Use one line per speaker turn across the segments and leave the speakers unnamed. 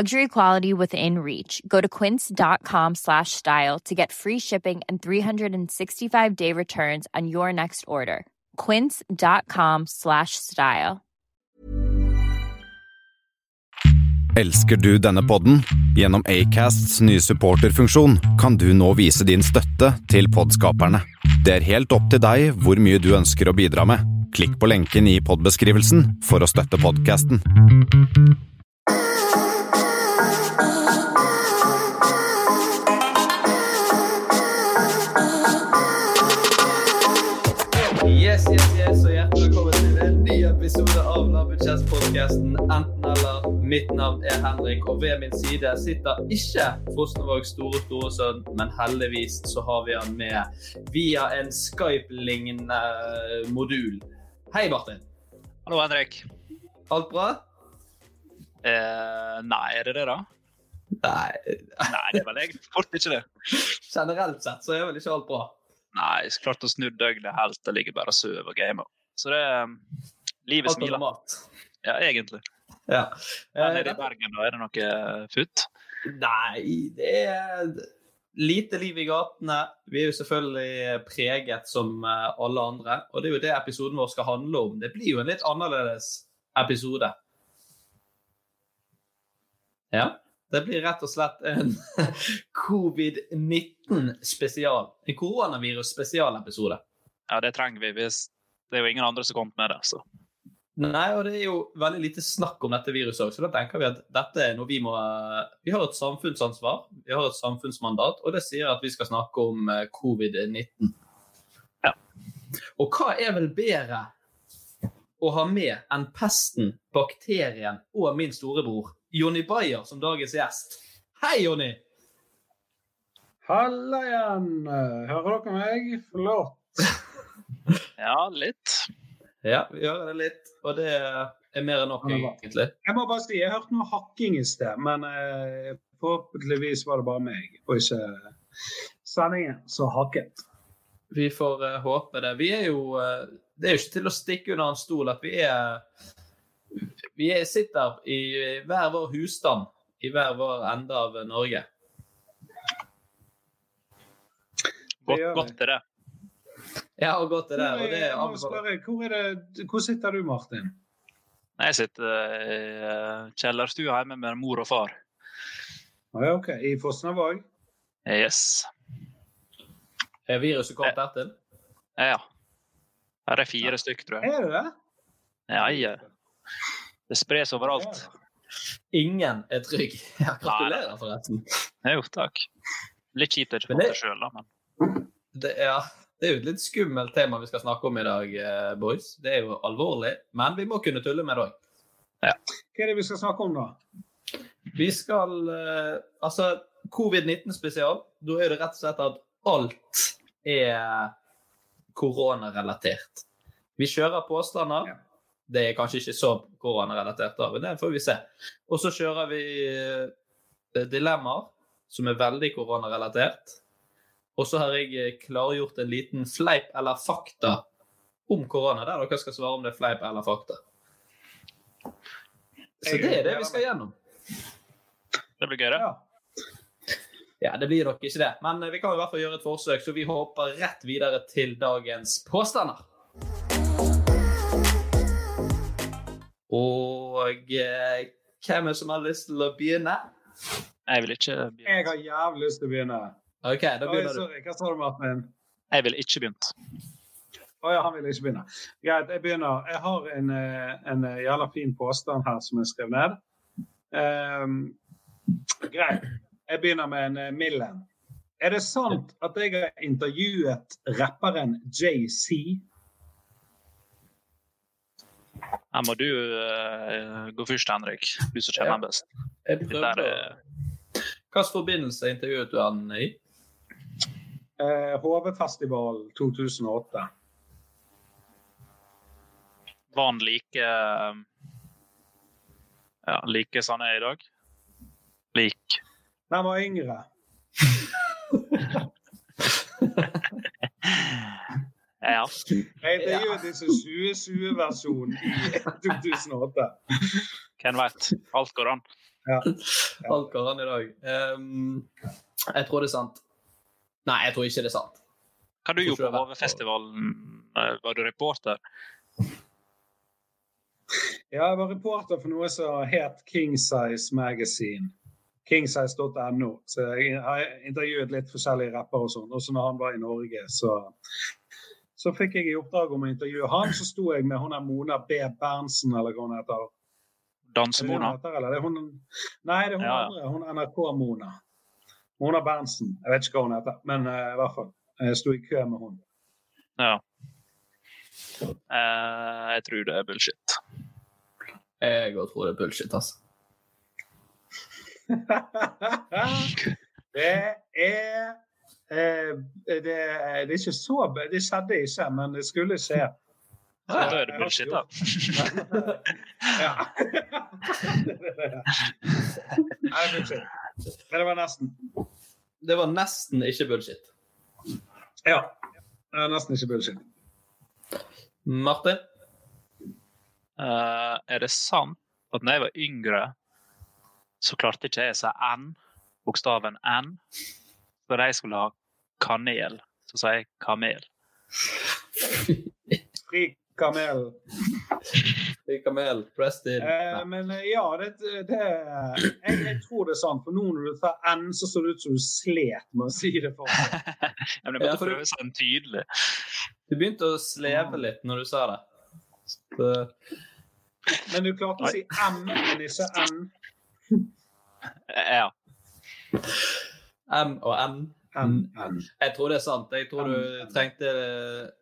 Luxury quality within reach. Go to quince.com slash style to get free shipping and 365 day returns on your next order. Quince.com slash style.
Elsker du denne podden? Gjennom Acasts nye supporterfunksjon kan du nå vise din støtte til podskaperne. Det er helt opp til deg hvor mye du ønsker å bidra med. Klikk på lenken i podbeskrivelsen for å støtte podkasten.
Yes, yes, yes, og hjertelig velkommen til en ny episode av Lavbudsjettpodkasten Enten eller. Mitt navn er Henrik, og ved min side sitter ikke Fosnevågs store store sønn, men heldigvis så har vi han med via en Skype-lignende eh, modul. Hei, Martin.
Hallo, Henrik.
Alt bra?
Eh, nei, er det det, da?
Nei,
Nei, det er vel egentlig fort ikke det.
generelt sett så er vel ikke alt bra.
Nei, jeg klarte å snu døgnet helt. Jeg ligger bare og sover og gamer. Så det um, Livet
Alt er
smiler.
normalt.
Ja, egentlig.
Ja.
Men nede
Eh,
i Bergen, da, er det noe eh, futt?
Nei, det er lite liv i gatene. Vi er jo selvfølgelig preget som eh, alle andre, og det er jo det episoden vår skal handle om. Det blir jo en litt annerledes episode. Ja. Det blir rett og slett en covid-19-spesial. En koronavirus-spesialepisode.
Ja, det trenger vi. hvis Det er jo ingen andre som kom med det, så
Nei, og det er jo veldig lite snakk om dette viruset òg, så da tenker vi at dette er noe vi må Vi har et samfunnsansvar, vi har et samfunnsmandat, og det sier at vi skal snakke om eh, covid-19.
Ja.
Og hva er vel bedre å ha med enn pesten, bakterien og min storebror Jonny Bayer som dagens gjest? Hei, Jonny!
Halla igjen! Hører dere meg? Flott.
Ja, litt.
Ja, vi hører det litt, og det er mer enn nok,
Ja, det er bra.
egentlig.
Jeg må bare si, jeg hørte noe hakking i sted, men eh, forhåpentligvis var det bare meg og ikke sendingen som hakket.
Vi får eh, håpe det. Vi er jo eh, Det er jo ikke til å stikke under en stol at vi er Vi er, sitter i hver vår husstand i hver vår ende av Norge.
Godt,
gjør vi.
godt til det.
Ja, og godt er det. Og det
Jeg
er
må
anbefalt.
spørre, hvor, er det, hvor sitter du, Martin?
Nei, Jeg sitter i eh, kjellerstua hjemme med mor og far.
Å ja, OK. I Fosnavåg?
Eh, Yes.
Er viruset kommet dertil?
Ja, ja. Her er fire stykk, tror jeg.
Er du det?
Ja, ja. Det spres overalt.
Ingen er trygg. Ja, gratulerer, forresten.
Jo, takk. Litt kjipt jeg ikke
Men
fått
det-
det sjøl, da. Men
Det er, det er jo et litt skummelt tema vi skal snakke om i dag, eh, boys. Det er jo alvorlig, men vi må kunne tulle med det òg.
Hva er det vi skal snakke om, da?
Vi skal eh, Altså, covid-19-spesial, da er det rett og slett at alt er koronarelatert. Vi kjører påstander.
Ja.
Det er kanskje ikke så koronarelatert, da, men det får vi se. Og så kjører vi eh, dilemmaer, som er veldig koronarelatert. Og så har jeg eh, klargjort en liten fleip eller fakta om korona, der dere skal svare om det er fleip eller fakta. Så det er det vi skal gjennom.
Det blir gøy, det.
Ja.
Ja, det blir nok ikke det, men eh, vi kan i hvert fall gjøre et forsøk, så vi hopper rett videre til dagens påstander. Og eh, hvem er det som har lyst til å begynne?
Jeg vil ikke
Jeg
begynt.
har jævlig lyst til å begynne.
OK, da
Oi,
begynner du.
sorry. Hva sa du, Martin?
Jeg ville ikke begynt.
Å ja, han ville ikke begynne. Greit, jeg begynner. Jeg har en, eh, en eh, jævla fin påstand her som jeg skrev ned. Ehm, greit. Jeg begynner med en eh, mild en. Er det sant at jeg har intervjuet rapperen JC?
Her må du eh, gå først, Henrik. Du som kjenner
Ja.
han best. eh,
Jeg
Dette
prøvde
er,
å Hvilken forbindelse intervjuet du han i?
Eh, HV-festival 2008.
var han like eh, ja, like som han er i dag? Lik.
Den var yngre.
Ja.
Jeg intervjuet disse 2020-versjonen i 2008.
Hvem vet? Alt går an.
Alt går an i dag. Ehm, jeg tror det er sant. Nei, jeg tror ikke det er sant.
Hva du
Tror
gjorde
ikke
på
det er
HV-festivalen? Eh, Var du reporter?
Ja, jeg var reporter for noe som het Kingsize Magazine. Kingsize.no. Så jeg har intervjuet litt forskjellige rappere og sånn. Også når han var i Norge, så, så fikk jeg i oppdrag om å intervjue han. Så sto jeg med hun der Mona B. Berntsen, eller hva hun heter. Er det hun
Dansemona?
heter, eller? Det er hun... Nei, det er hun
Ja, ja.
andre. Hun NRK-Mona. Mona Berntsen. Jeg vet ikke hva hun heter, men eh, i hvert fall. Jeg sto i kø med hun.
Ja. Eh, jeg tror det er bullshit.
Jeg også tror det er bullshit, altså.
det er eh, det, det er ikke så b- Det skjedde ikke, men det skulle skje.
Så da er det bullshit, da.
Ja. Nei, det er bullshit. Men det var nesten.
Det var nesten ikke bullshit.
Ja. Det var nesten ikke bullshit.
Martin?
Eh, er det sant at når jeg var yngre, så klarte ikke jeg å si N, bokstaven N? Så da jeg skulle ha kanel, så sa jeg kamel.
Fri kamel.
Kamel, press in.
Eh, men eh, ja, det, det jeg, jeg tror det er sant. For nå når du tar N, så ser det ut som du slet med å si det. For. meg.
Jeg ble
Ja,
bare
for du-
prøve sånn tydelig.
Du begynte å sleve litt når du sa det. Så,
Men du klarte å si M, men ikke N.
Eh, Ja.
M og N.
N, N.
Jeg tror det er sant. Jeg tror du
M.
trengte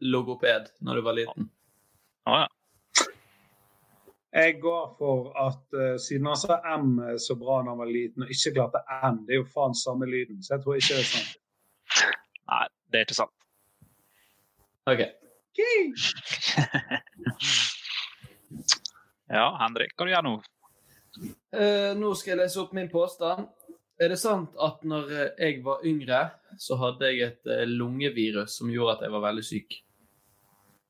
logoped når du var liten.
Å ja.
Jeg går for at eh, siden han sa M eh, så bra da han var liten, og ikke klarte N, det er jo faen samme lyden, så jeg tror ikke det er sant.
Nei, det er ikke sant.
OK.
Ja, Henrik, hva du gjør nå?
Eh, nå skal jeg lese opp min påstand. Er det sant at når eh, jeg var yngre, så hadde jeg et eh, lungevirus som gjorde at jeg var veldig syk?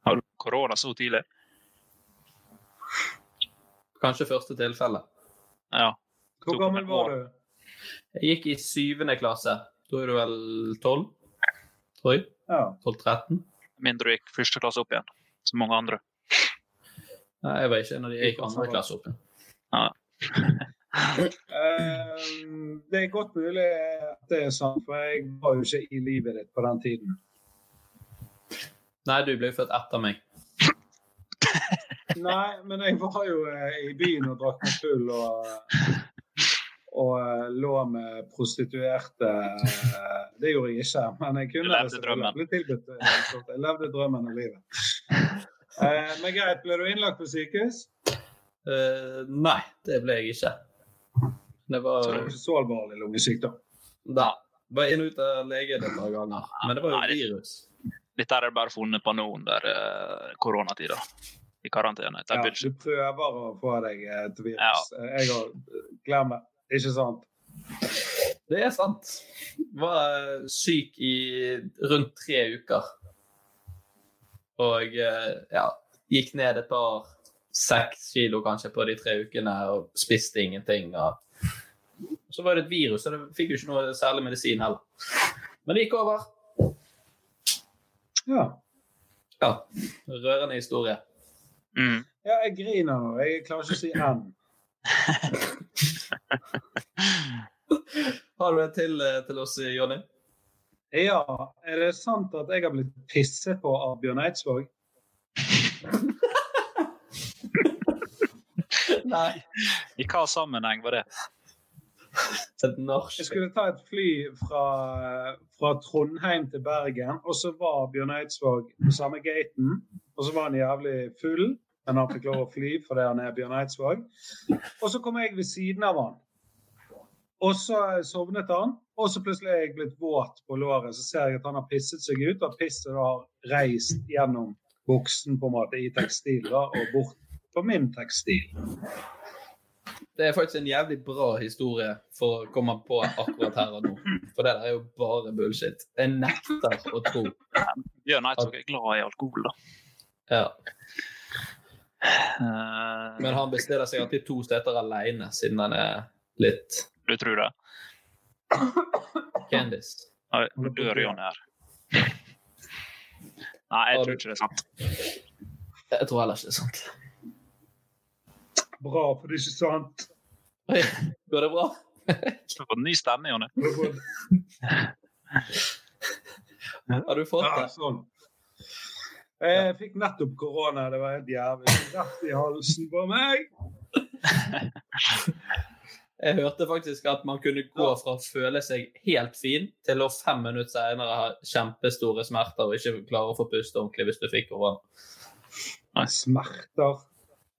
Har du korona så tidlig?
Kanskje første tilfelle.
Ja.
Hvor gammel var du?
Jeg gikk i syvende klasse. Da er du vel tolv? Tror jeg.
Ja.
12-13?
Mindre du gikk første klasse opp igjen, som mange andre.
Nei, jeg var ikke en av de jeg gikk andre klasse opp. i.
Eh, det er godt mulig at det er sant, for jeg var jo ikke i livet ditt på den tiden.
Nei, du ble jo født etter meg.
Nei, men jeg var jo eh, i byen og drakk meg full og, og eh, lå med prostituerte. Eh, Det gjorde jeg ikke, men jeg
Du
kunne
levde
det, så jeg
drømmen.
ble tilbudt, eh, så jeg levde drømmen av livet. Eh, Men greit, ble du innlagt på sykehus?
Eh, nei, det ble jeg ikke. Det var,
Så det var ikke så alvorlig lungesykdom.
da, var inn og ut av lege et par ganger. Men det var
Ah, Nei,
jo
det-
virus.
Dette er det bare funnet på nå under eh, koronatida. I karantene. Dette er
Ja,
bullshit.
du prøver å få deg eh, et
Ja.
virus. Eh, Jeg har Glem det. Ikke sant?
Det er sant. Var eh, syk i rundt tre uker. Og eh, ja, gikk ned et par seks kilo kanskje på de tre ukene og spiste ingenting. Og så var det et virus, så det fikk jo ikke noe særlig medisin heller. Men det gikk over.
Ja.
Ja, Rørende historie.
Mm.
ja, jeg griner nå. Jeg klarer ikke å si N.
Har du en til eh, til oss, Jonny?
Ja, er det sant at jeg har blitt pisset på av Bjørn Eidsvåg?
Nei.
I hva sammenheng var det?
Et norsk
Jeg skulle ta et fly fra, fra Trondheim til Bergen, og så var Bjørn Eidsvåg på samme gaten. Og så var han jævlig full, men han fikk lov å fly fordi han er Bjørn Eidsvåg. Og så kom jeg ved siden av han. Og så sovnet han, og så plutselig er jeg blitt våt på låret. Så ser jeg at han har pisset seg ut, og pisset har reist gjennom buksen på en måte i tekstil da, og bort på min tekstil.
Det er faktisk en jævlig bra historie for å komme på akkurat her og nå. For det der er jo bare bullshit. Jeg nekter å tro.
Bjørn Eidsvåg er glad i alkohol, da.
Ja.
Eh,
Men han bestiller seg alltid to seter alene, siden han er litt
du tror det?
Candice.
Oi, Nå dør Jonny her. Nei, jeg tror ikke det er sant.
Jeg tror heller ikke det er sant.
Bra, for det er ikke sant.
Oi, Går det bra?
Du har fått ny stemme, Jonny.
Har du fått
Ja,
det?
sånn. Jeg fikk nettopp korona. Det var helt jævlig. Rett i halsen på meg.
Jeg hørte faktisk at man kunne gå fra å føle seg helt fin til å fem minutter senere ha kjempestore smerter og ikke klare å få puste ordentlig hvis du fikk korona.
Smerter.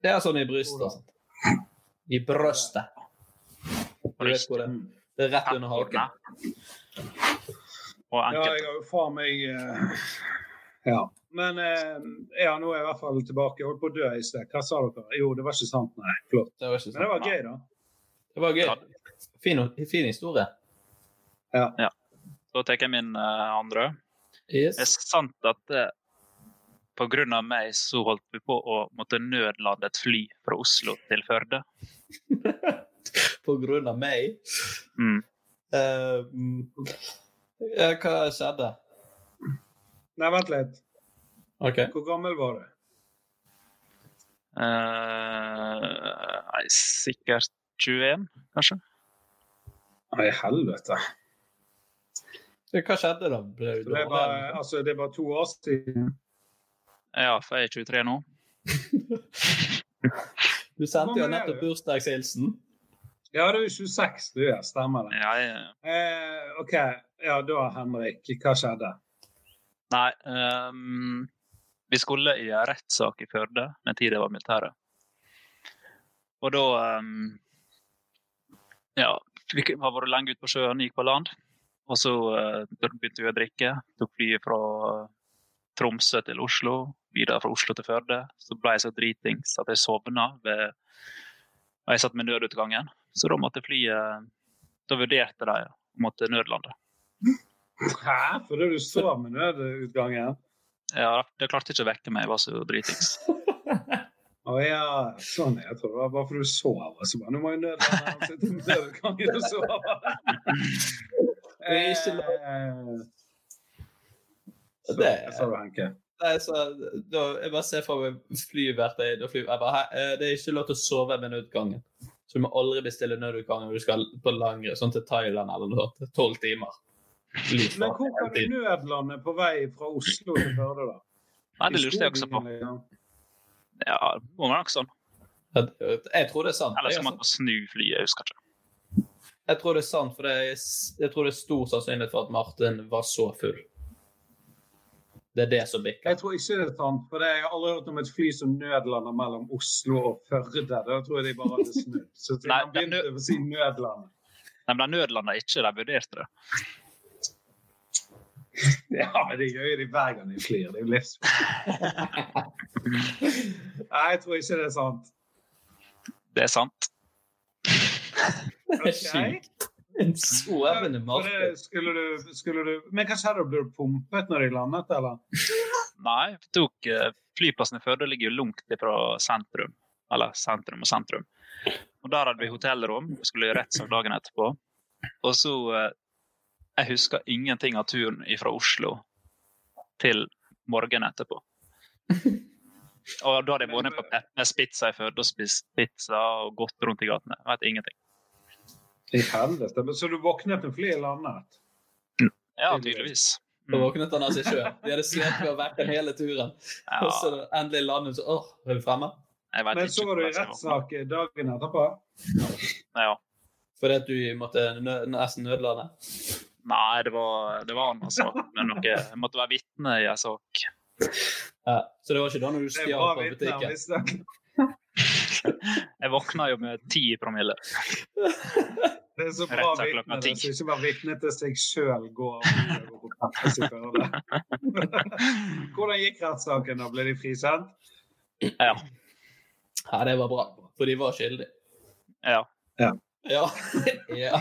Det er sånn i brystet. og sånt. I brøstet. Du vet hvor det er. Det er rett under haken.
Og
Ja, jeg
enkelte.
har jo faen meg eh, Ja. Men eh, ja, nå er jeg i hvert fall tilbake. Jeg holdt på å dø i sted. Hva sa dere? Jo, det var ikke sant. Nei, flott.
Det var ikke
Men det var
sant.
gøy, da.
Det var gøy. Fin, fin historie.
Så tar jeg min eh, andre.
Yes.
Det er sant at eh, på grunn av meg så holdt vi på å måtte nødlande et fly fra Oslo til Førde.
På grunn av meg.
Mm.
Eh, mm. ja, hva skjedde?
Nei, vent litt.
OK.
Hvor gammel var du?
Eh, nei, sikkert 21, kanskje?
Nei, helvete.
Hva skjedde da? Ble du
Så Det var,
dårlig?
altså, det var to år siden.
Ja, for jeg er 23 nå.
Du sendte
Hvor
jo
gammel er
nettopp
du?
bursdagshilsen.
Ja, du er 26, du. Ja, stemmer det.
Jeg,
Eh, OK. Ja, da, Henrik. Hva skjedde?
nei ehm, Vi skulle i en rettssak i Førde den tida jeg var i militæret. Og da ehm, Ja, vi k- har vært lenge ute på sjøen, gikk på land. Og så eh, begynte vi å drikke. Tok flyet fra Tromsø til Oslo, videre fra Oslo til Førde. Så ble jeg så dritings at jeg sovna ved og jeg satt med nødutgangen. Så da måtte flyet Da vurderte de å måtte nødlande.
Hæ? Fordi du så med nødutgangen?
Ja, det klarte ikke å vekke meg. Jeg var så dritings.
Å ja, sånn. Jeg tror det var bare fordi du sov. Altså, bare, nå må jeg nødlande sitte med nødutgangen og sove.
Det er
Eh,
ikke lov.
Så,
Det
hva sa du, Henke?
Nei, så, da, jeg bare ser for meg flyvertet da fly, jeg bare, «Hei, eh, Det er ikke lov til å sove ved nødutgangen. Så du må aldri bestille nødutgangen når du skal på langre, sånn til Thailand eller noe. sånt. Tolv timer. Fly fra-
Men hvor kan du nødlande på vei fra Oslo til Førde, da? liksom.
Nei, det lurte jeg også på. Ja, det må være nok sånn.
Jeg tror det er sant.
Eller
Jeg,
så måtte man snu flyet. Jeg husker ikke.
jeg tror det er sant, for det er, jeg tror det er stor sannsynlighet for at Martin var så full. Det er det som bikker.
Jeg tror ikke det er sant, for det- jeg har aldri hørt om et fly som nødlander mellom Oslo og Førde. Da tror jeg de bare hadde snudd. Så siden
Nei,
han
men
begynte å si nødlande.
Nei, men de nødlanda ikke. De vurderte det.
Ja, men det gjør jo de hver gang de flyr. Det er jo livsfarlig. Nei, jeg tror ikke det er sant.
Det er sant.
Det er
Ok.
sjukt. En sovende
For det
marked.
skulle du, skulle du, men hva skjedde? Ble du pumpet når de landet, eller?
Nei, vi tok eh, flyplassen i Førde ligger jo langt fra sentrum. Eller sentrum og sentrum. Og Der hadde vi hotellrom. Vi skulle gjøre rettssak dagen etterpå. Og så eh, Jeg husker ingenting av turen fra Oslo til morgenen etterpå. Og da hadde jeg vært på Peppes Pizza i Førde og spist pizza og gått rundt i gatene. Jeg vet ingenting.
I helvete. Men Så du våknet når flyet landet?
Ja, tydeligvis.
Da våknet han av seg sjøl. De hadde slet med å vekke hele turen.
Mm, Ja,
Og så endelig landet så Åh, er vi fremme?
jeg vet
Men
ikke
så var du i
hvordan jeg skal våkne.
rettssak dagen etterpå?
Ja.
Fordi at du måtte nø nesten nødlande?
Nei, det var, det var en annen sak. Men noe, jeg måtte være vitne i en sak.
Ja. Så det var ikke da når du
Det er
stjal
bra
fra
vitne. han
butikken?
visste.
Jeg våkna jo med ti promille.
Det er så bra
Rettssak klokka
vitne.
ti.
Det som ikke var vitne til seg sjøl, går og går på Peppes i Førde. Hvordan gikk rettssaken? da? Ble de frisendt?
Ja.
Ja, det var bra. For de var skyldige.
ja.
Ja. ja.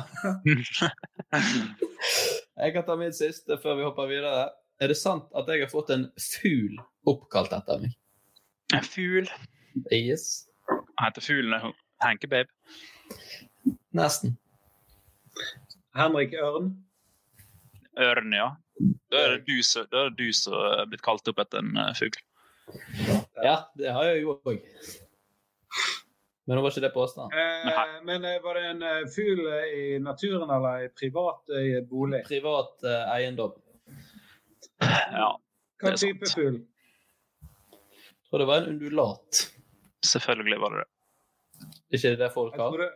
Jeg kan ta min siste før vi hopper videre. Er det sant at jeg har fått en fugl oppkalt etter meg?
En fugl.
Yes.
Han heter Fuglen Henke Babe.
Nesten.
Henrik Ørn?
Ørn, ja. Da er det du som da er det du som er blitt kalt opp etter en eh, fugl.
Ja, det har jeg jo òg. Men nå var ikke det påstand.
Eh, men eh, var det en eh, fugl eh, i naturen eller i privat eh, bolig?
Privat eh, eiendom.
Ja, det
Hva
er sant.
type fugl?
Jeg tror det var en undulat.
selvfølgelig var det det.
Er ikke det det folk
Jeg
har?
tror det...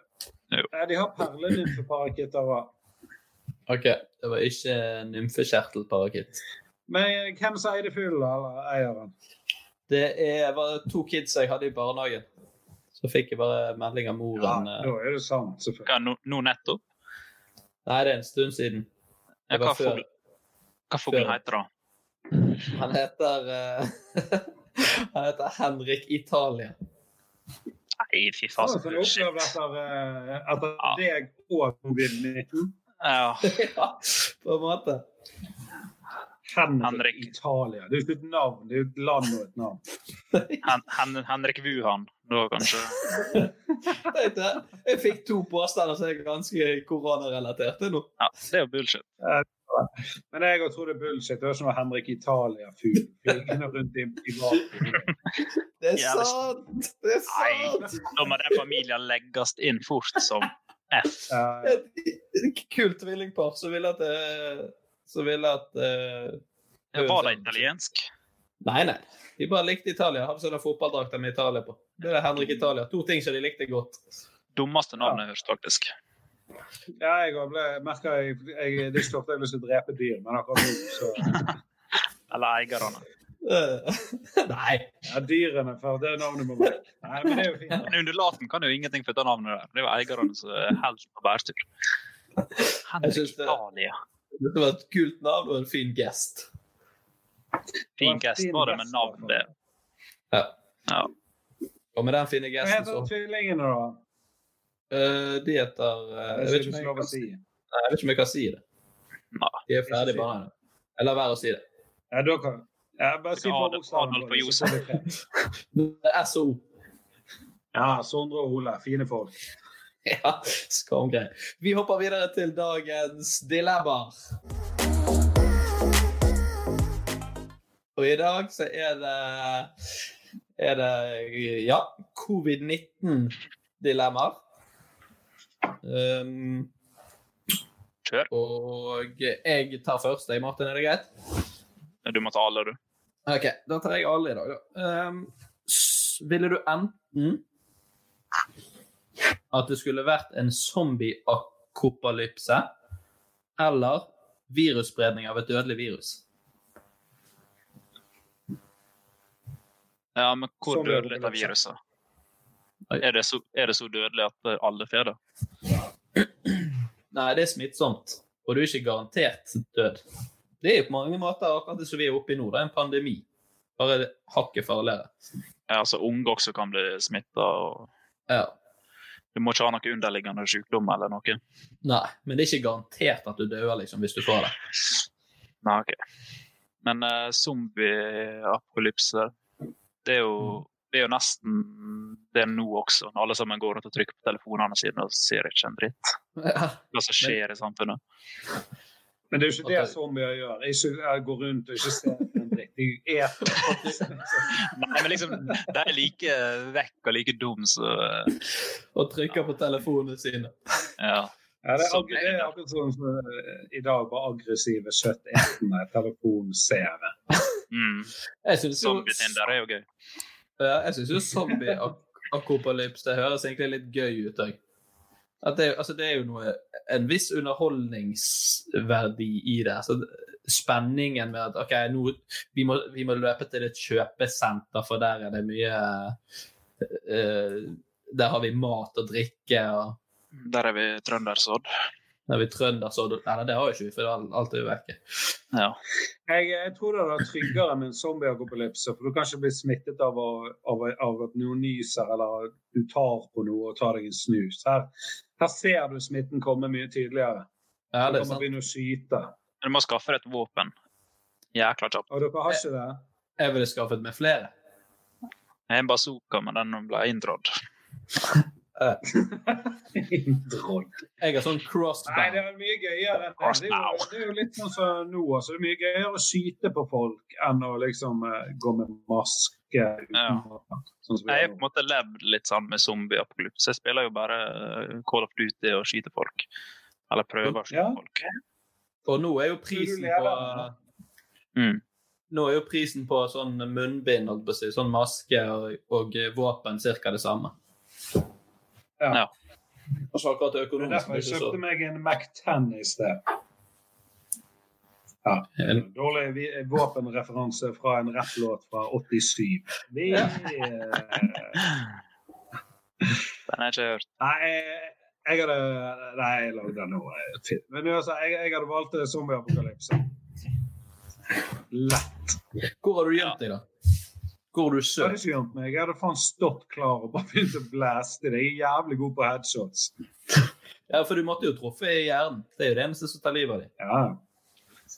Jo.
Nei, de har perlenymfeparakitter òg.
Ok, det var ikke nymfekjertelparakitt.
Men eh, hvem som eide fuglen, da, eller eieren?
Det er, var to kids jeg hadde i barnehagen. Så fikk jeg bare melding av
Ja,
moren. eh,
da er det sant, selvfølgelig.
Hva, nå, nå nettopp?
Nei, det er en stund siden.
Ja,
Det
hva
var før.
fugl, hva fuglen
Før.
heter da?
Han heter eh, Han heter Henrik Italia.
Nei, fy
Ja, sånn
faen.
så
så
han opplevde
bullshit.
etter, eh, etter
Ja.
deg og covid-19.
Ja,
ja, på en måte.
Henrik,
Henrik.
Italia. Det er jo ikke et navn, det er jo et land og et navn.
Hen, Hen, Henrik Wuhan, da kanskje.
Tenkte jeg. Jeg fikk to påstander som er ganske koronarelaterte nå.
Ja, det er jo bullshit.
Men jeg også tror det er bullshit. Det er ikke noe Henrik Italia-fugl flygende rundt i privatbolig.
Det er
Jævlig.
sant! Det er
Nei.
sant!
Da må den familien legges inn fort som F.
Eh,
Et kult tvillingpar som ville at eh, Som ville at eh,
Var det italiensk?
Nei, nei. De bare likte Italia. Hadde sånne fotballdrakter med Italia på. Det er Henrik Italia. To ting som de likte godt.
Dummeste navnet jeg har hørt, faktisk.
Ja, jeg også ble, merker jeg, jeg, det er ikke ofte jeg har lyst til å drepe dyr, men akkurat nå så
Eller eierne.
Eh, nei.
ja, Dyrene for det navnet må være Nei, men det er jo fint.
Men Undulaten kan jo ingenting for dette navnet der. Det er jo eierne som er helt på bærtur.
Jeg
Henrik
synes det-
Italia.
Det var et kult navn og en fin gest.
Fin gest var det, men navnet det.
Ja.
Ja.
Og med den fine
Hva
gesten så
heter tvillingene, da?
Eh, De heter eh,
Det
jeg,
er
vet
ikke
ikke om jeg,
lov å
kan,
si.
nei, jeg vet ikke om jeg kan si det.
Nei.
De er ferdig
si
bare nå. Jeg lar være å si det.
Ja, da kan ja, Bare si
Adolf-
forbokstaven.
Adolf
på det,
og
så får vi tre.
Det er SO.
Ja, Sondre og Ole. Fine folk.
Ja, skamgreier. Vi hopper videre til dagens dilemmaer. Og i dag så er det er det ja, covid-19-dilemmaer. Um,
Kjør.
og jeg tar først, jeg, Martin. Er det greit?
Du må ta alle, du.
Ok, da tar jeg alle i dag, da. Ehm, s- ville du enten at det skulle vært en zombie-akopalypse eller virusspredning av et dødelig virus?
Ja, men hvor
Som vi
dødelig er dette
overlevde.
viruset?
Nei.
Er det, så, er det så dødelig at eh, alle får det?
Nei, det er smittsomt, og du er ikke garantert død. Det er på mange måter akkurat det som vi er oppe i nå. Det er en pandemi. Bare hakket farligere.
Ja, altså Unge også kan bli smitta. Og...
Ja.
Du må ikke ha noe underliggende sykdom eller noe.
Nei, men det er ikke garantert at du dør liksom, hvis du får det.
Nei, ok. Men eh, zombie-apolypse, det er jo det er jo nesten det nå også, når alle sammen går rundt og trykker på telefonene sine og ser ikke en dritt.
Ja.
Hva som skjer i samfunnet.
Men det er jo ikke det
Ok.
zombier gjør. Ikke eh, gå rundt og ikke se en dritt. De eter faktisk.
Nei, men liksom, De er like vekk og like dum som
Og trykker på telefonene sine.
ja.
Ja, det, er,
Som
ag- det er akkurat sånn som eh, i dag, bare aggressive, kjøttetende telefonseere.
mm.
Jeg syns jo,
Zombie-Tinder er jo gøy.
ja, jeg synes jo zombie-akopalypse det høres egentlig litt gøy ut òg. At det, er- altså, det er jo noe, en viss underholdningsverdi i det. Så spenningen med at OK, nå, vi, må, vi må løpe til et kjøpesenter, for der er det mye eh, Der har vi mat og drikke. og
Der er vi trøndersodd.
Når vi trønder, så Nei, det har jo ikke vi, for alt- alt er jo vekke.
Ja.
Jeg, jeg tror det er tryggere med en zombieapokalypse, for du kan ikke bli smittet av, å- av, av at noen nyser eller du tar på noe og tar deg en snus. Her, her ser du smitten komme mye tydeligere.
Ja,
Du
det er
kan
sant.
begynne å skyte.
Men Du må skaffe deg et våpen. Jækla kjapt.
Og dere har ikke det?
Jeg ville skaffet meg flere.
Jeg har en bazooka, men den ble inndratt.
Eh,
Drog.
Jeg har sånn
Nei, det
crossbow.
er mye gøyere. enn Det Det er jo, det er jo litt sånn som nå. Altså. Det er mye gøyere å skyte på folk enn å liksom eh, gå med maske. uten
Ja.
våpen, Sånn som vi
Jeg har
gjør
på
nå.
en måte levd litt sånn med zombie-apokalypse. Jeg spiller jo bare eh, Call of Duty og skyter folk. Eller prøver å skyte
Ja.
folk.
Og nå er jo prisen
Du lever,
på
da.
Mm.
Nå er jo prisen på sånn munnbind, holdt på å si, sånn maske og, og våpen ca. det samme.
Ja.
Ja.
Og så akkurat
Det er
økonomisk
derfor
blir
jeg
ikke
kjøpte
så
meg en Mac-10 i sted. Ja.
En-
Dårlig vi- våpenreferanse fra en rapplåt fra 87. Vi eh,
Den har jeg ikke hørt.
Nei, jeg- jeg hadde Nei, jeg lagde den nå. eh, fint. Men altså, jeg, jeg hadde valgt eh, zombieapokalypse. Lett.
Hvor har du gjemt deg, da? Hvor har du
Jeg hadde
søkt?
ikke gjemt meg. Jeg hadde faen stått klar og bare begynt å blaste det. Jeg er jævlig god på headshots.
Ja, for du måtte jo truffet i hjernen. Det er jo det eneste som tar livet av deg.
Ja.
Hvis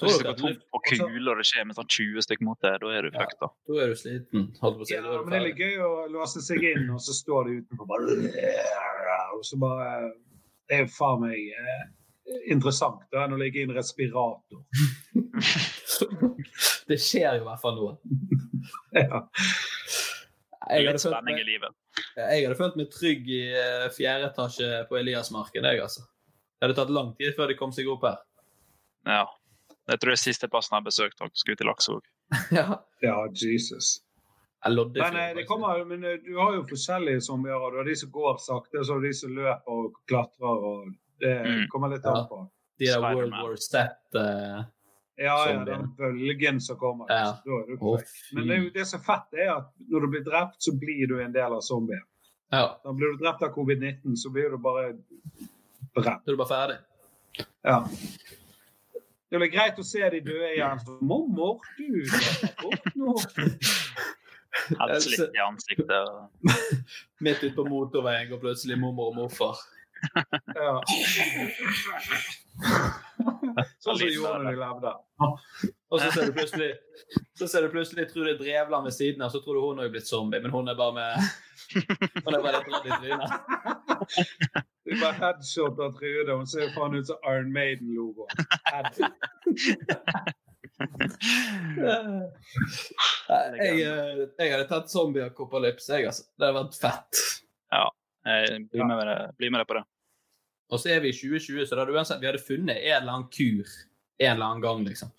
Tror
du
dere
går
at
tom
du-
for kuler og det skjer med sånn 20 stykker mot deg, da er du fucked, da.
Da er du sliten, holdt på å si. Da
Ja,
er du
men det er litt
ferdig.
gøy å låse seg inn, og så står de utenfor bare Og så bare Det er jo faen meg eh, interessant da, enn å ligge i en respirator.
Det skjer jo i hvert fall noe.
Ja.
Det er
Jeg hadde
litt
følt meg-
spenning i livet.
Jeg hadde følt meg trygg i eh, fjerde etasje på Eliasmarken. Jeg, altså. Det hadde tatt lang tid før de kom seg opp her.
Ja. Jeg tror det er siste plassen jeg har besøkt da jeg skulle til Laksevåg.
ja.
ja, Jesus.
Jeg lodde
Men, eh, det kommer, men eh, du har jo forskjellige zombier. og Du har de som går sakte, og så har du de som løper og klatrer. og Det
Mm.
kommer litt
Ja.
an på.
De der World
Spider-Man.
War Z eh,
Ja, ja,
Zombier.
den bølgen som kommer.
Ja.
Da er du
Å,
fucked. Men det, er jo-
fy.
det som er fett, er at når du blir drept, så blir du en del av zombien.
Ja,
Da blir du drept av covid-19, så blir du bare brent.
da er du bare ferdig.
Ja. Det blir greit å se de døde igjen. Så, Mormor, du opp nå.
Helt slitt i ansiktet. og-
Midt ute på motorveien går plutselig mormor og morfar.
Ja. Sånn som de gjorde når de levde.
Og så ser du plutselig så ser du plutselig, tror det er Drevland ved siden av, så tror du hun er blitt zombie, men hun er bare med Hun er bare litt redd i trynet.
Det var headshot av Trude. Hun ser faen ut som Iron Maiden-logo.
Nei, Jeg, eh, jeg hadde tatt zombie-akopalypse, jeg, altså. Det hadde vært fett.
Jeg blir med, deg- blir med deg på det.
Og så er vi i 2020, så da hadde uansett, vi hadde funnet en eller annen kur en eller annen gang, liksom.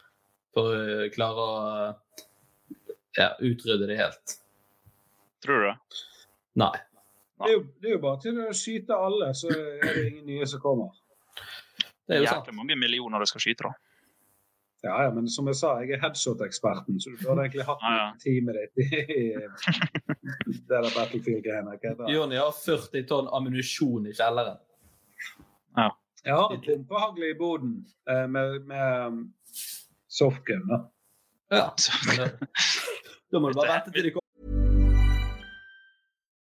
For å øh, klare å øh, ja, utrydde det helt.
Tror du det?
Nei.
Det er jo, det er jo bare til å skyte alle, så er det ingen nye som kommer.
Det er jo sant.
Jæklig mange millioner du skal skyte, da.
Ja, ja, men som jeg sa, jeg er headshot-eksperten, så du burde egentlig hatt
Ja, ja.
teamet ditt i i det der Battlefield-greiene. ikke sant?
Jonny har 40 tonn ammunisjon i kjelleren.
Jeg har en pumpehagle i boden eh, med, med um, softgun. da.
Ja. men, øh, Da må du bare vente til de kommer.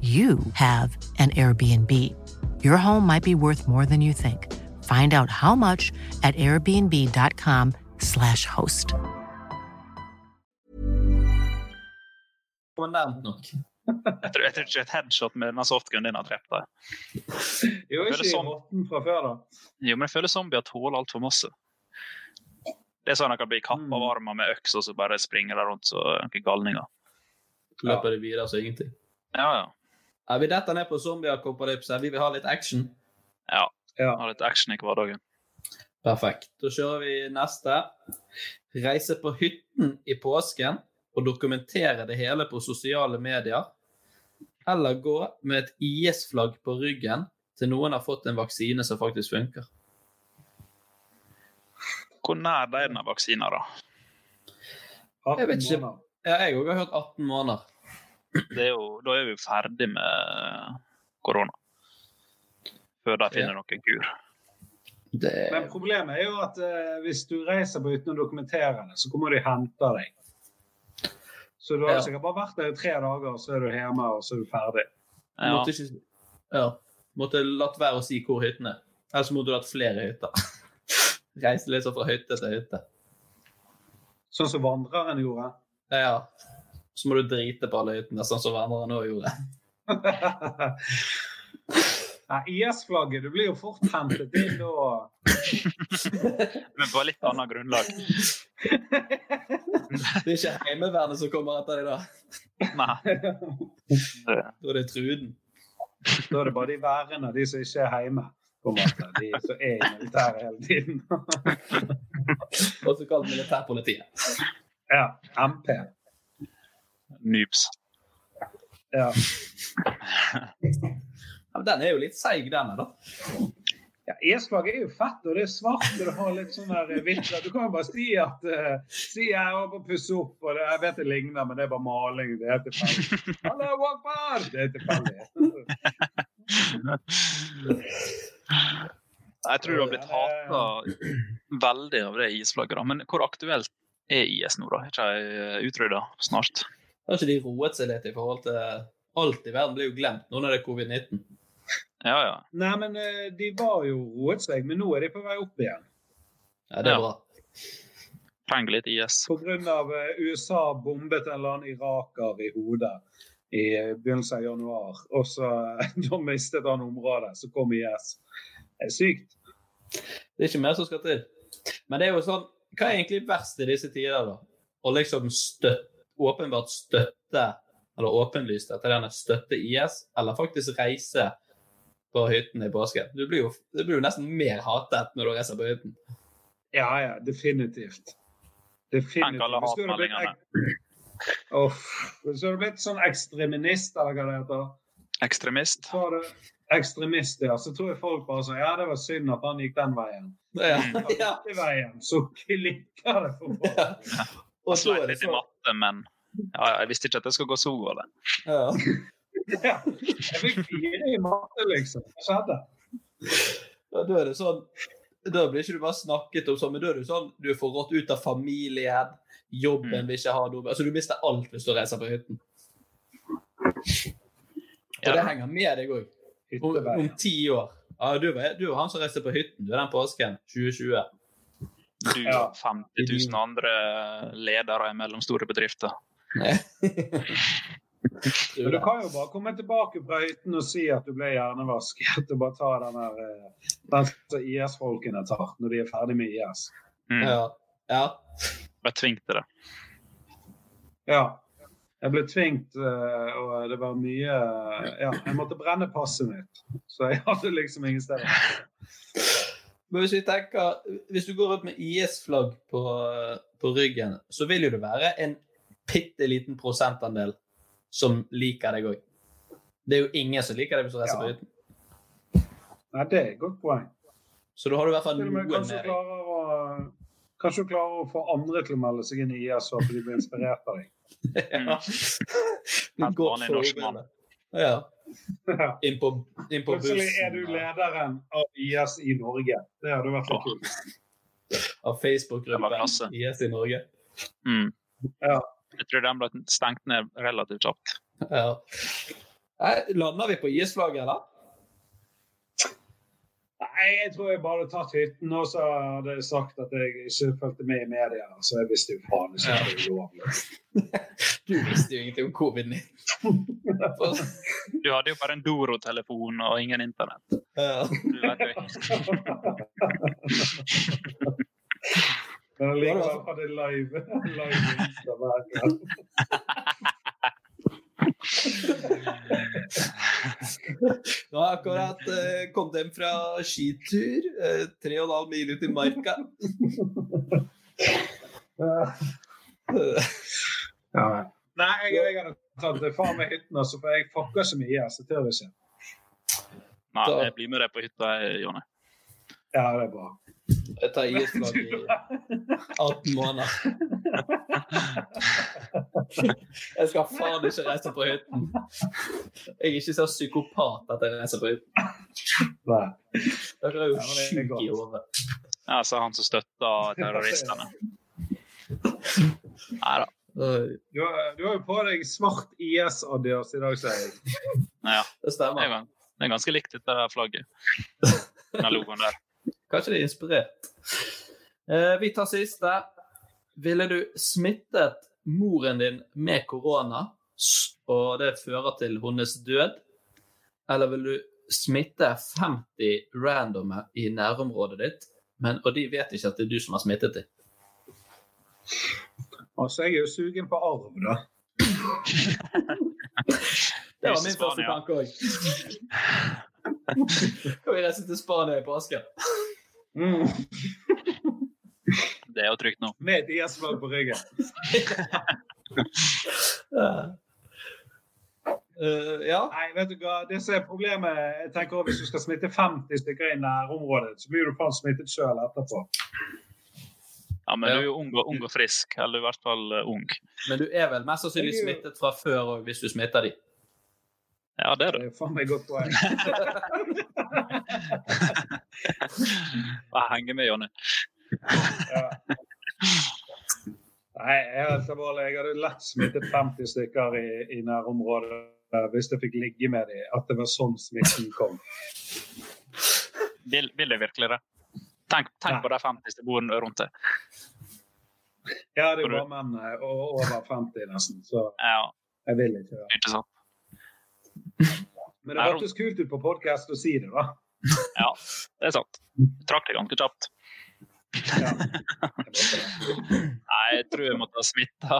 you have an Airbnb. Your home might be worth more than you think. Find out how much at airbnb.com/slash host.
Det var nærmt nok.
Jeg tror, jeg tror ikke et headshot med denne softgunen din har drept deg.
Jo,
Jeg
ikke
føler
i
sånn-
rotten fra før, da.
Jo, men jeg føler zombier tåler altfor masse. Det er sånn at de kan bli kappa
Mm.
av armer med øks og så bare springer de rundt som noen galninger.
Løper det videre, så ingenting.
Ja, ja.
Ja, vi detter ned på zombieakopalypse. Vi vil ha litt action.
Ja.
Ja.
Har litt action i hverdagen.
Perfekt. Da kjører vi neste. Reise på hytten i påsken og dokumentere det hele på sosiale medier. Eller gå med et IS-flagg på ryggen til noen har fått en vaksine som faktisk funker.
Hvor nær de er denne vaksina, da?
18
Jeg vet ikke.
måneder.
Ja, jeg òg har hørt 18 måneder.
Det er jo, da er vi jo ferdig med korona. Før de finner noen kur.
Det
Men problemet er jo at eh, hvis du reiser på uten å dokumentere det, så kommer de og henter deg. Så du har
Ja.
sikkert bare vært der i tre dager, så er du hjemme, og så er du ferdig.
Jeg
Ja.
Måtte ikke Ja. Måtte latt være å si hvor hytten er. Ellers måtte du hatt flere hytter. Reise litt sånn fra hytte til hytte.
Sånn som vandreren gjorde.
Ja, ja. Så må du drite på alle hyttene, sånn som hverandre nå gjorde.
Nei, IS-flagget, du blir jo fort hentet inn da.
Men på litt annet grunnlag.
Det er ikke Heimevernet som kommer etter deg da.
Nei. Det-
Da er det Truden.
Da er det bare de værende, de som ikke er hjemme. På en måte. De som er i militæret hele tiden.
Også kalt militærpolitiet.
ja, MP.
Noobs.
Ja.
Ja, men den er jo litt seig, denne, da.
Ja, Esfag er jo fett, og det er svart, og det har litt sånn der eh, vinkler. Du kan jo bare si at eh, si jeg holder på å pusse opp, og det, jeg vet det ligner, men det er bare maling. Det er tilfeldig. Allah akbar! Det er tilfeldig.
Jeg tror du har blitt hata veldig av det isflagget, da. Men hvor aktuelt er IS nå, da? Er ikke de utrydda snart?
Har ikke de roet seg litt i forhold til Alt i verden blir jo glemt nå når det er covid-19.
Ja, ja.
Nei, men eh, de var jo roet seg, men nå er de på vei opp igjen.
Ja, det er bra.
Trenger litt IS.
På grunn av eh, USA bombet en eller annen iraker i hodet i eh, begynnelsen av januar. Og så da mistet han området. Så kom IS. Det er sykt.
Det er ikke mer som skal til. Men det er jo sånn Hva er egentlig verst i disse tider, da? Å liksom støtte, åpenbart støtte, eller åpenlyst etter denne støtte IS, eller faktisk reise på hytten i påsken? Du blir jo, du blir jo nesten mer hatet når du reiser på hytten.
Ja, ja, definitivt.
Tenk alle
liksom. Hvis du hadde blitt
hatmeldingene.
Uff. Hvis du hadde blitt sånn ekstremist, eller hva det heter
Ekstremist?
Så var det ekstremist, ja. Så tror jeg folk bare sånn Ja, det var synd at han gikk den veien.
Ja.
Den veien, så klikker det for folk.
Jeg sleit litt i
sånn-
matte, men ja, jeg visste ikke at det skulle gå så galt.
Ja. Jeg fikk fire i matte, liksom. Hva skjedde?
Ja, da er det sånn Da blir ikke du bare snakket om sånn, men da er du sånn Du er forrådt ut av familien, jobben vil ikke ha noe Altså, du mister alt hvis du reiser på hytten. Og det henger med deg òg. Om, om ti år. Ja, du, var- du er han som reiste på hytten du er den påsken 2020.
Du og 50 000 andre ledere i mellomstore bedrifter.
Men du kan jo bare komme tilbake fra hytten og si at du ble hjernevasket, og bare ta den der eh, den som IS-folkene tar når de er ferdig med IS.
Mm.
Ja.
Ble tvunget til det.
Ja. Jeg ble tvingt, eh, og det var mye Ja, jeg måtte brenne passet mitt, så jeg hadde liksom ingen steder.
Men hvis vi tenker Hvis du går rundt med IS-flagg på, på ryggen, så vil jo det være en bitte liten prosentandel som liker deg òg. Det er jo ingen som liker deg hvis du reiser på hytten.
Nei, det er et godt poeng.
Så da har du i hvert fall
Til og
noen
med
med
kanskje du
deg.
klarer å Kanskje du klarer å få andre til å melde seg inn i IS, så at de blir inspirert av deg.
Ja.
Helt
Godt
vanlig norsk
forbilde.
mann.
Ja. Inn på, inn på bussen.
Plutselig er du lederen av IS i Norge. Det hadde vært litt kult.
Av Facebook-gruppen IS i Norge.
Mm.
Ja.
Jeg tror den ble stengt ned relativt kjapt.
Ja. Nei, Lander vi på IS-flagget, eller?
Nei, jeg tror jeg bare hadde tatt hytten, og så hadde jeg sagt at jeg ikke fulgte med i media. Så jeg visste jo faen ikke at det var ulovlig.
Du visste jo ingenting om covid-19.
Du hadde jo bare en Doro-telefon og ingen internett.
Ja.
Du vet jo.
Men allikevel var det live. live Insta hver gang.
Nå har jeg akkurat eh, kommet hjem fra skitur. eh, Tre og en halv mil ut i marka.
Nei, jeg, jeg hadde tatt det faen meg hytten, altså, for jeg fucker så mye IS. Det tør jeg ikke.
Nei, jeg blir med deg på hytta, jeg, Jonny.
Ja, det er bra.
Jeg tar IS-flagg i 18 måneder. Jeg skal faen ikke reise på hytten. Jeg er ikke så psykopat at jeg reiser på hytten.
Nei.
Dere er jo
Ja, men det er
sjuke i
godt.
hodet.
Ja, så han som støtta terroristene. Nei da.
Du, har- du har jo på deg svart IS-adios i dag, sier jeg.
Ja.
Det stemmer.
er, gan- det er ganske likt dette her flagget. Den logoen der.
Kanskje de er inspirert. Eh, vi tar siste. Ville du smittet moren din med korona, s- og det fører til hennes død? Eller vil du smitte 50 randomer i nærområdet ditt, men, og de vet ikke at det er du som har smittet dem?
Altså, jeg er jo sugen på arv, da.
Det var min første tanke òg. Kan vi reise til Spania i påsken?
Det er jo trygt nå.
Med et IS-flagg på ryggen.
Eh, ja.
Nei, vet du hva. Det som er problemet jeg tenker også, Hvis du skal smitte 50 stykker i nærområdet, så blir du faen smittet sjøl etterpå.
Ja, men du er jo ung og, ung og frisk. Eller i hvert fall eh, ung.
Men du er vel mest sannsynlig smittet fra før òg, hvis du smitter de.
Ja, det er du.
Det er faen meg godt poeng.
Bare henge med, Jonny.
Nei, helt alvorlig. Jeg hadde lett smittet 50 stykker i, i nærområdet eh, hvis jeg fikk ligge med dem. At det var sånn smitten kom.
Vil, vil jeg virkelig det? Tenk, tenk på de 50 som bor rundt deg.
Ja, det var menn eh, o- over 50 nesten, så
Ja,
jeg vil ikke det.
ikke sant?
Men det hørtes kult ut på podkast å si det, da.
Ja, det er sant. Jeg trakk det ganske kjapt. Nei, jeg tror jeg måtte ha smitta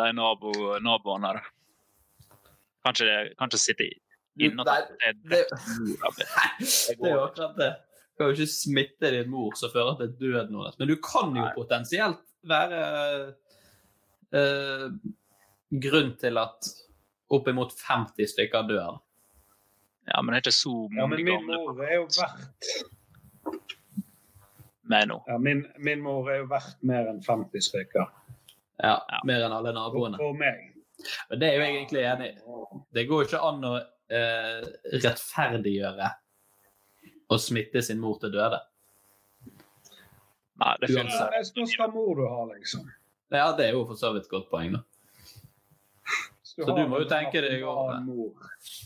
de nabo, naboene her. Kanskje, kanskje sitte inne og tenke at det er
Det er jo akkurat det. Du kan jo ikke smitte din mor som fører til døden hennes, men du kan jo potensielt være eh, grunn til at oppimot 50 stykker dør.
Ja, men det er ikke så
Ja, men min mor er jo verdt
med nå.
ja, min, min mor er jo verdt mer enn 50 stykker.
Ja, Mer enn alle naboene.
For meg.
Men det er jo jeg egentlig enig i. Det går jo ikke an å eh, rettferdiggjøre å smitte sin mor til døde.
Nei,
Ja, det spørs hva mor du har, liksom.
Ja, det er jo for så vidt et godt poeng, da. Så du må jo tenke deg eh. over det.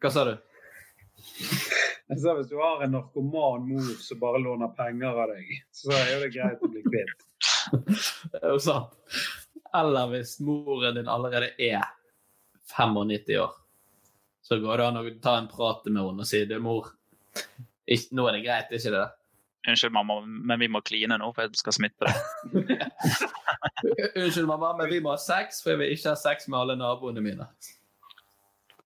Hva sa du?
Jeg sa Hvis du har en narkoman mor som bare låner penger av deg, så er jo det greit å bli kvitt.
Det er jo sant. Eller hvis moren din allerede er 95 år, så går det an å ta en prat med henne og si du, mor, ikke, nå er det greit, ikke det?
Unnskyld, mamma, men vi må kline nå, for jeg skal smitte deg.
Unnskyld, mamma, men vi må ha sex, for jeg vil ikke ha sex med alle naboene mine.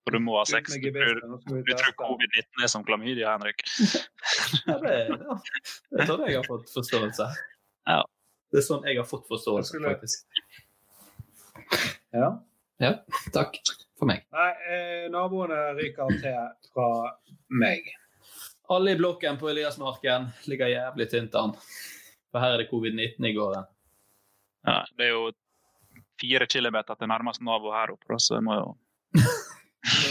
For du må ha sex. Du tror, du tror covid-19 er som klamydia, Henrik.
Ja, det, er- ja. det er sånn jeg har fått forståelse. Det er sånn jeg har fått forståelse, faktisk.
Ja.
Ja, takk for meg.
Nei, eh, naboene ryker til fra meg.
Alle i blokken på Eliasmarken ligger jævlig tynt an. For her er det covid-19 i gården.
Ja, det er jo fire kilometer til nærmeste nabo her oppe, da, så jeg må jo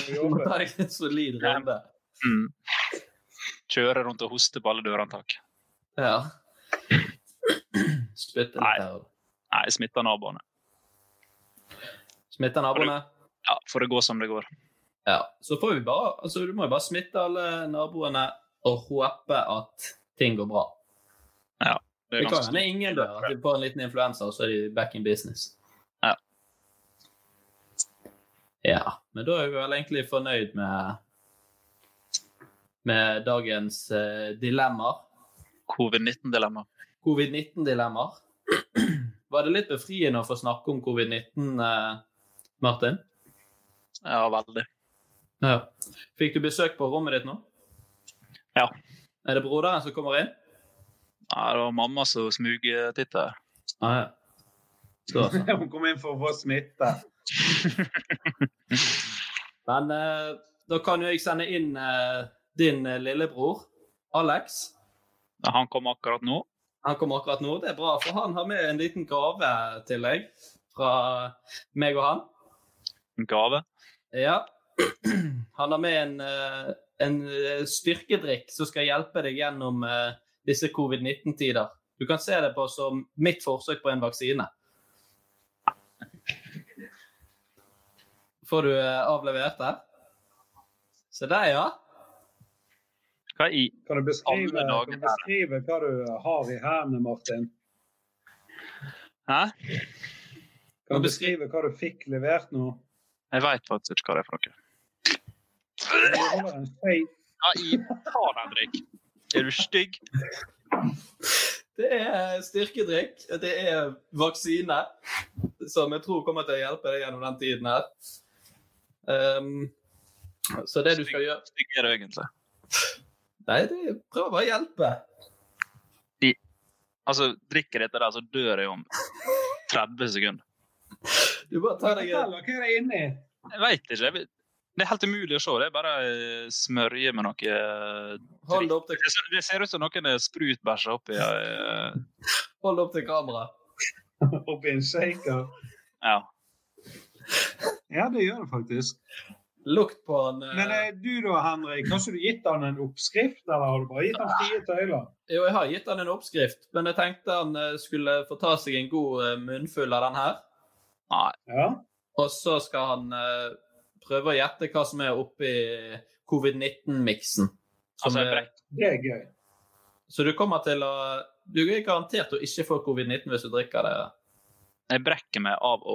Du må ta deg en solid runde.
mm, kjøre rundt og hoste på alle dørhåndtak.
Ja. Spytte litt her.
Nei, smitte naboene.
Smitte naboene.
Ja, får det gå som det går.
Ja. Så får vi bare Altså, du må jo bare smitte alle naboene og håpe at ting går bra.
Ja.
Det,
er
kan jo
ganske-
hende ingen dør. At vi får en liten influensa, og så er de back in business.
Ja.
Ja. Men da er vi vel egentlig fornøyd med med dagens eh, dilemmaer.
Covid-19-dilemma.
Covid-19-dilemmaer. Var det litt befriende å få snakke om covid-19, eh, Martin?
Ja, veldig.
Ja. Fikk du besøk på rommet ditt nå?
Ja.
Er det broderen som kommer inn?
Ja, det var mamma som smugtitta.
Ah, ja. Så, altså. så.
Hun kom inn for å få smitte.
Men eh, da kan jo jeg sende inn eh, din eh, lillebror, Alex.
Ja, Han kom akkurat nå.
Han kom akkurat nå. Det er bra, for han har med en liten gave til deg fra meg og han.
En gave.
Ja. Han har med en, eh, en eh, styrkedrikk som skal hjelpe deg gjennom eh, disse covid-19-tider. Du kan se det på som mitt forsøk på en vaksine. Får du eh, avlevert det? Se der, ja.
Hva i
Kan du beskrive,
Alle dager
kan du beskrive hva du har i hendene, Martin?
Hæ?
Kan du beskrive hva du fikk levert nå?
Jeg veit faktisk ikke hva det er for noe.
Du holder en feit
Ja, i faen, Henrik. Er du stygg?
Det er styrkedrikk, det er vaksine, som jeg tror kommer til å hjelpe deg gjennom den tiden her. Ehm, så det du skal gjøre
Stygg er du egentlig.
Nei, det prøv bare å hjelpe.
I, altså, drikker dette der, så dør jeg om 30 sekunder.
Du bare tar deg
Fortell, Hva er det inni?
Jeg veit ikke. jeg vet- Det er helt umulig å se. Det er bare eh, smørje med noe eh,
Hold opp til,
Det ser- Det ser ut som noen er sprutbæsja oppi eh,
hold opp til kamera.
Oppi en shaker.
Ja.
Ja, det gjør det faktisk.
Lukt på han eh,
Men eh, du da, Henrik, har ikke du gitt han en oppskrift, eller har du bare gitt han frie tøyler?
Jo, jeg har gitt han en oppskrift, men jeg tenkte han eh, skulle få ta seg en god eh, munnfull av den her.
Nei.
Og så skal han eh, prøve å gjette hva som er oppi covid-19-miksen.
Altså, jeg brekk-
Det er gøy.
Så du kommer til å Du er garantert å ikke få covid-19 hvis du drikker det.
Jeg brekker meg av å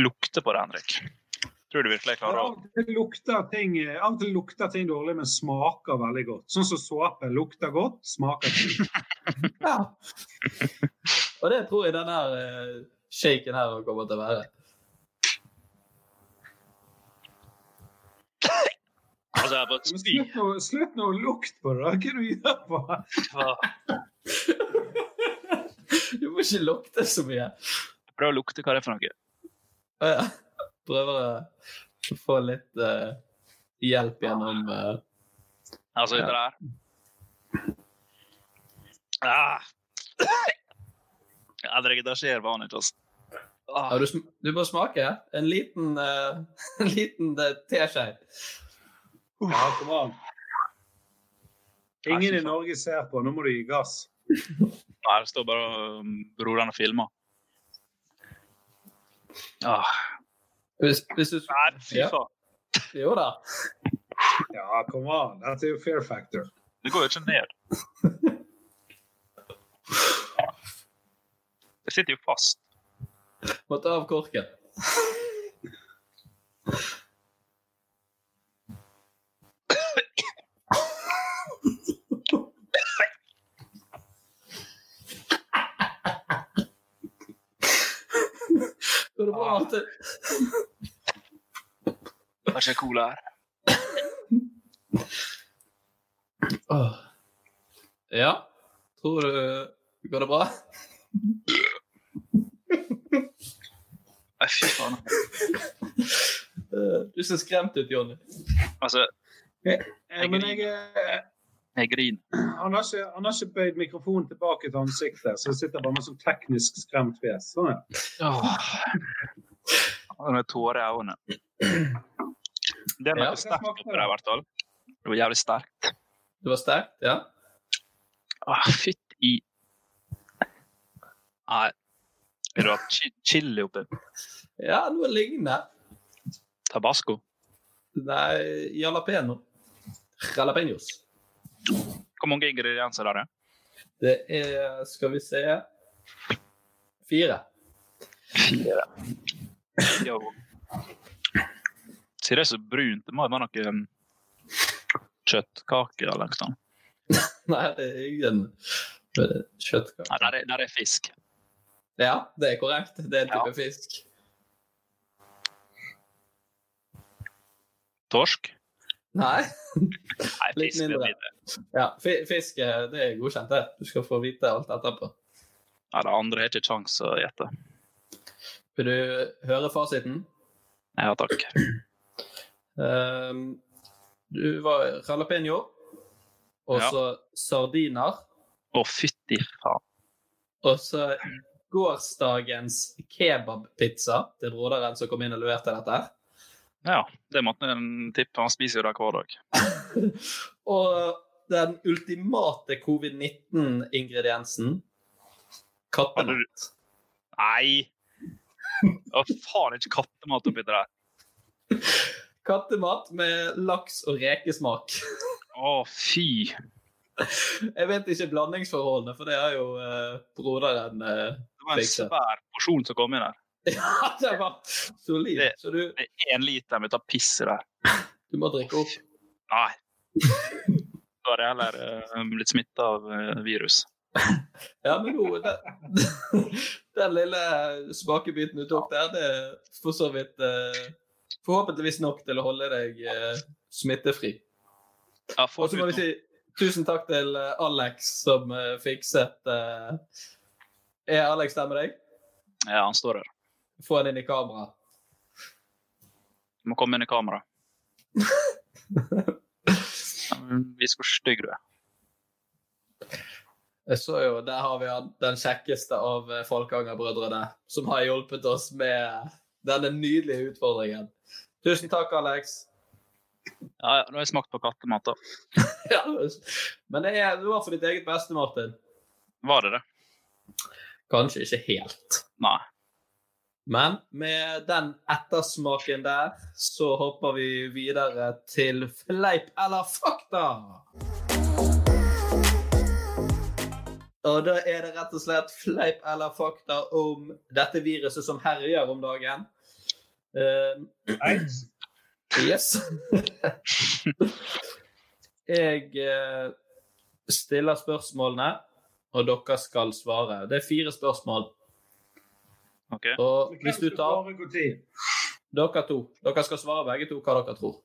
lukte på det, Henrik. Tror du virkelig jeg klarer å
Det lukter ting, av og til lukter ting dårlig, men smaker veldig godt. Sånn som såpe lukter godt, smaker godt.
Og det tror jeg denne eh, shaken her kommer til å være.
Altså, jeg bare
Slutt nå, slutt nå å lukte på det, da. hva er det du gjør på?
Du må ikke lukte så mye.
Prøv å lukte hva det er for noe.
Å ja. Prøver å få litt eh, hjelp gjennom eh,
Altså,
Ja.
det der. Ah. Ja, Henrik, det skjer vanlig ikke, altså.
ja, du, sm- du må smake. En liten, eh, en liten eh, teskje.
Ja, kom an. Ingen i Norge ser på, nå må du gi gass.
Nei, det står bare um, broren og filmer. Ah.
Hvis, hvis du
Nei, fy
Ja.
faen.
Jo da.
Ja, kom an. Dette er jo fair factor.
Det går jo ikke ned. Det sitter jo fast.
Må ta av korken. Går det bra, Martin?
Hva skjer cola her?
Åh. Ja? Tror du Går det bra?
Nei, fy faen.
Eh, Du ser skremt ut, Jonny.
Altså,
Eh, Men jeg, eh,
jeg griner.
han, har ikke, han har ikke bøyd mikrofonen tilbake til ansiktet, så jeg sitter bare med sånn teknisk skremt fjes. Sånn, ja.
Og Med tårer i øynene. Det er noe
Ja.
sterkt oppi der, i hvert fall. Det var jævlig sterkt.
Det var sterkt, ja?
Ah, fytt i Nei. Vil du ha chi- chili oppi?
Ja, noe lignende.
Tabasco?
Nei, jalapeno. Jalapeños.
Hvor mange ingredienser er det?
Det er Skal vi se Fire.
Fire. Jo. Ser det så brunt? Det må jo være noe um, kjøttkake eller noe sånt.
Nei, det er ingen kjøttkake.
Nei, der er, der er fisk.
Ja, det er korrekt. Det er en type fisk.
Torsk?
Nei.
Nei,
Litt
fisk blir
mindre.
mindre.
Ja, fi- fisk eh, det er godkjent, det. Du skal få vite alt etterpå.
Nei, det andre har ikke kjangs å gjette.
Vil du høre fasiten?
Ja, takk.
Ehm, du var jalapeño, og
Ja.
så sardiner,
Å, fytti faen.
og så gårsdagens kebabpizza til broderen som kom inn og leverte dette. her.
Ja, det måtte en tippe. Han spiser jo det hver dag.
Og den ultimate covid-19-ingrediensen kattemat.
Nei! Det var faen ikke kattemat oppi det der.
Kattemat med laks og rekesmak.
Å, fy!
Jeg vet ikke blandingsforholdene, for det har jo eh, broderen eh,
Det var en svær porsjon som kom inn der.
Ja, det var solid.
Det,
du...
det er én liter med tar piss i der.
Du må drikke opp.
Nei. Da har jeg heller eh, blitt smitta av eh, virus.
Ja, men nå, den, den lille smakebiten du tok der, det er for så vidt eh, Forhåpentligvis nok til å holde deg eh, smittefri. Og så må vi si tusen takk til eh, Alex som eh, fikset eh, Er Alex der med deg?
Ja, han står der.
Få han inn i kamera.
Du må komme under kamera. Ja, men Vis hvor stygg du er.
Jeg så jo, Der har vi han, den kjekkeste av eh, Falkanger-brødrene, som har hjulpet oss med denne nydelige utfordringen. Tusen takk, Alex.
Ja, ja, nå har jeg smakt på kattemat, da.
Ja, Men det, er, det var for ditt eget beste, Martin.
Var det det?
Kanskje ikke helt.
Nei.
Men med den ettersmaken der, så hopper vi videre til fleip eller fakta. Og da er det rett og slett fleip eller fakta om dette viruset som herjer om dagen. Nei. yes. Jeg eh, stiller spørsmålene, og dere skal svare. Det er fire spørsmål. Og hvis du tar Dere to. Dere skal svare begge to hva dere tror.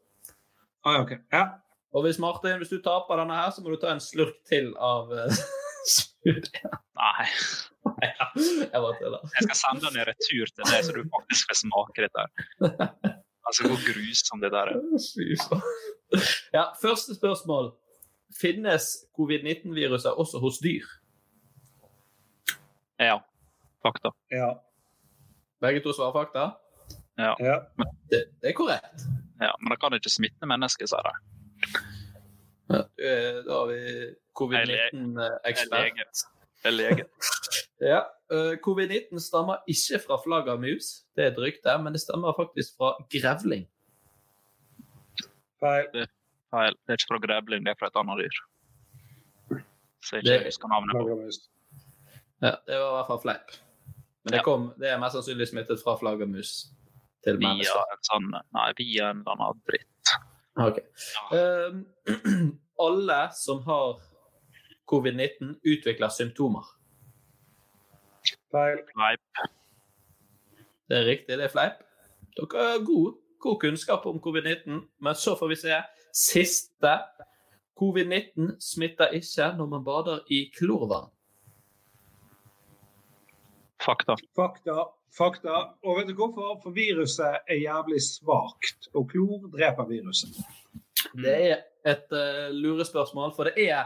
Og hvis Martin, hvis du taper denne her, så må du ta en slurk til av eh,
Nei.
Jeg bare tuller.
Jeg skal sende den i retur til deg, så du faktisk får smake dette. her. Altså, hvor grusomt det der er.
Ja, første spørsmål. Finnes covid-19-viruset også hos dyr?
Ja. Fakta.
Ja.
Begge to svarer fakta?
Ja.
Det, det er korrekt.
Ja, Men det kan jo ikke smitte mennesker, sier de.
Eh, Da har vi
Jeg er
covid-19-ekspert.
lege. Jeg er lege.
Ja. eh, Covid-19 stammer ikke fra flaggermus, det er et rykte, men det stammer faktisk fra grevling.
Feil.
Det, feil. det er ikke fra grevling, det er fra et annet dyr. Så jeg
Det-
ikke husker navnet på.
Ja, det var i hvert fall fleip. Men det, kom, det er mest sannsynlig smittet fra flaggermus til
Via
mennesker.
en sånn Nei, via en eller annen dritt.
Ok. Eh, alle som har covid-19, utvikler symptomer.
Feil.
Fleip.
Det er riktig, det er fleip. Dere har god, god kunnskap om covid-19, men så får vi se. Siste. Covid-19 smitter ikke når man bader i klorvann.
Fakta.
Fakta. Fakta. Og vet du hvorfor? For viruset er jævlig svakt, og klor dreper viruset.
Det er et eh, lurespørsmål, for det er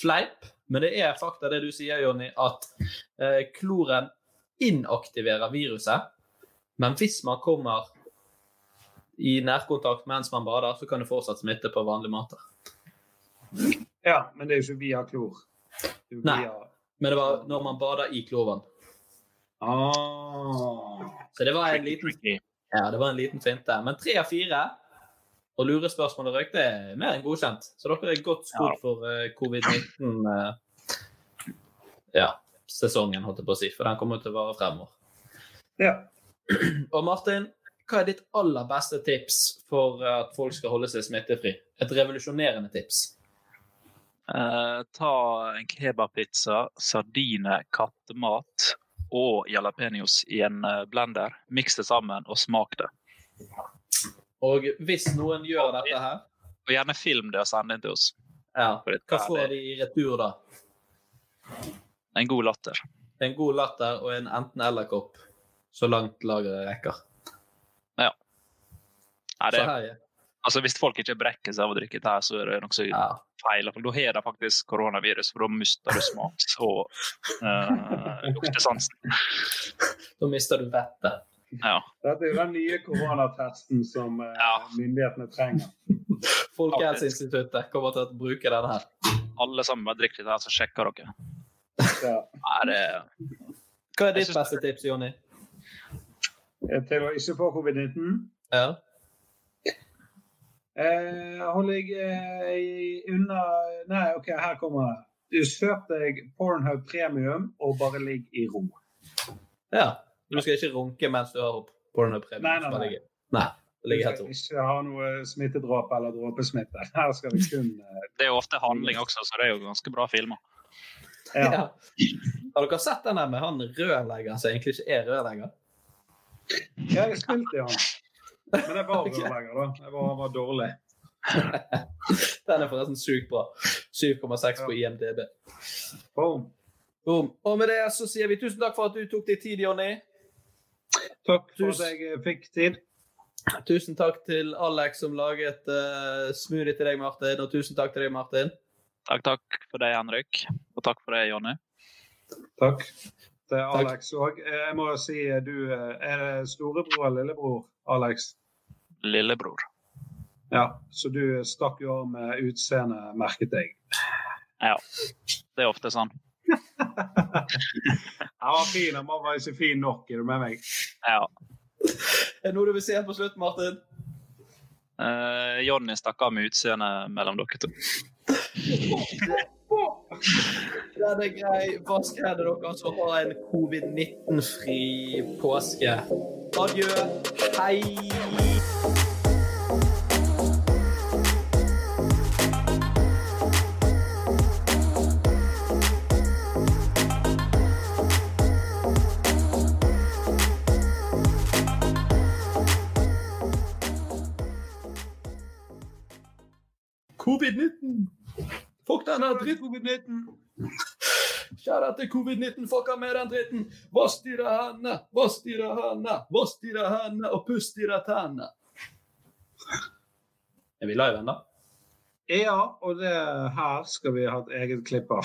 fleip, men det er fakta det du sier, Jonny, at eh, kloren inaktiverer viruset. Men hvis man kommer i nærkontakt mens man bader, så kan det fortsatt smitte på vanlige måter.
Ja, men det er jo ikke via klor. Det er jo
Nei,
via
men det var når man bader i kloven.
Ah.
Så det var en liten Ja, det var en liten finte. Men tre av fire og lurespørsmål og røyk, det er mer enn godkjent. Så dere er godt skodd for eh, covid-19. eh, ja, sesongen, holdt jeg på å si. For den kommer til å vare fremover.
Ja.
Og Martin, hva er ditt aller beste tips for eh, at folk skal holde seg smittefri? Et revolusjonerende tips.
Eh, ta en kebabpizza, sardiner, kattemat og jalapeños i en eh, blender. Miks det sammen og smak det.
Og hvis noen gjør dette her,
Og gjerne film det og send det inn til oss.
ja,
For dette
hva
er
får de i retur da?
En god latter.
En god latter og en enten-eller-kopp så langt lageret rekker.
Ja. Nei, det,
Så her, ja.
altså, hvis folk ikke brekker seg av å drikke dette, her, så er det noe som er feil. For da har de faktisk koronavirus, for da mister du smaks- og eh, luktesansen.
Da mister du vettet.
Ja.
Dette er jo den nye koronatesten som eh, myndighetene trenger.
Folkehelseinstituttet kommer til å bruke den her.
Alle sammen bare drikk litt her, så sjekker dere. Nei, det
Hva er ditt beste tips, Jonny?
Eh, Til å ikke få covid-19.
Ja.
Eh, holder jeg eh, i- unna Nei, OK, her kommer det. Du Kjøp deg Pornhub Premium og bare ligg i ro.
ja. Du skal ikke runke mens du har
Nei, nei,
pornopremien.
nei.
nei.
Du
Det ligger helt
skal
opp.
ikke ha noe smittedråpe eller dråpesmitte. Her skal vi kun eh,
Det er jo ofte handling også, så det er jo ganske bra filmer.
Ja.
Har dere sett den der med han rørleggeren som egentlig ikke er rørlegger?
Jeg har spilt i han. Men jeg var rørlegger, da. Jeg var, var dårlig.
Den er forresten sjukt bra. 7,6 på IMDb.
Boom.
Og med det så sier vi tusen takk for at du tok deg tid, Jonny.
Takk for
Tusen-
at jeg eh, fikk tid.
Tusen takk til Alex som laget eh, smoothie til deg, Martin. Og tusen takk til deg, Martin.
Takk, takk for deg, Henrik. Og takk for deg, Jonny.
Takk til Alex òg. Jeg må jo si du eh, Er det storebror eller lillebror, Alex?
Lillebror.
Ja, så du stakk jo av med utseendet, merket jeg.
Ja. Det er ofte sånn.
Han var fin, han var bare ikke fin nok. Er du med meg?
Ja.
Er det noe du vil si helt på slutt, Martin?
Eh, Jonny stakk av med utseendet mellom dere to.
Den er grei. Vask hendene deres og ha en covid-19-fri påske. Adjø. Hei. Covid-19! Fuck den her dritt covid-19! Kjære til covid-19, fucka med den dritten! Vask dere hendene, vask dere hendene, vask dere hendene og pust dere tennene. Er vi live ennå?
Ja, og det her skal vi ha et eget klipp av.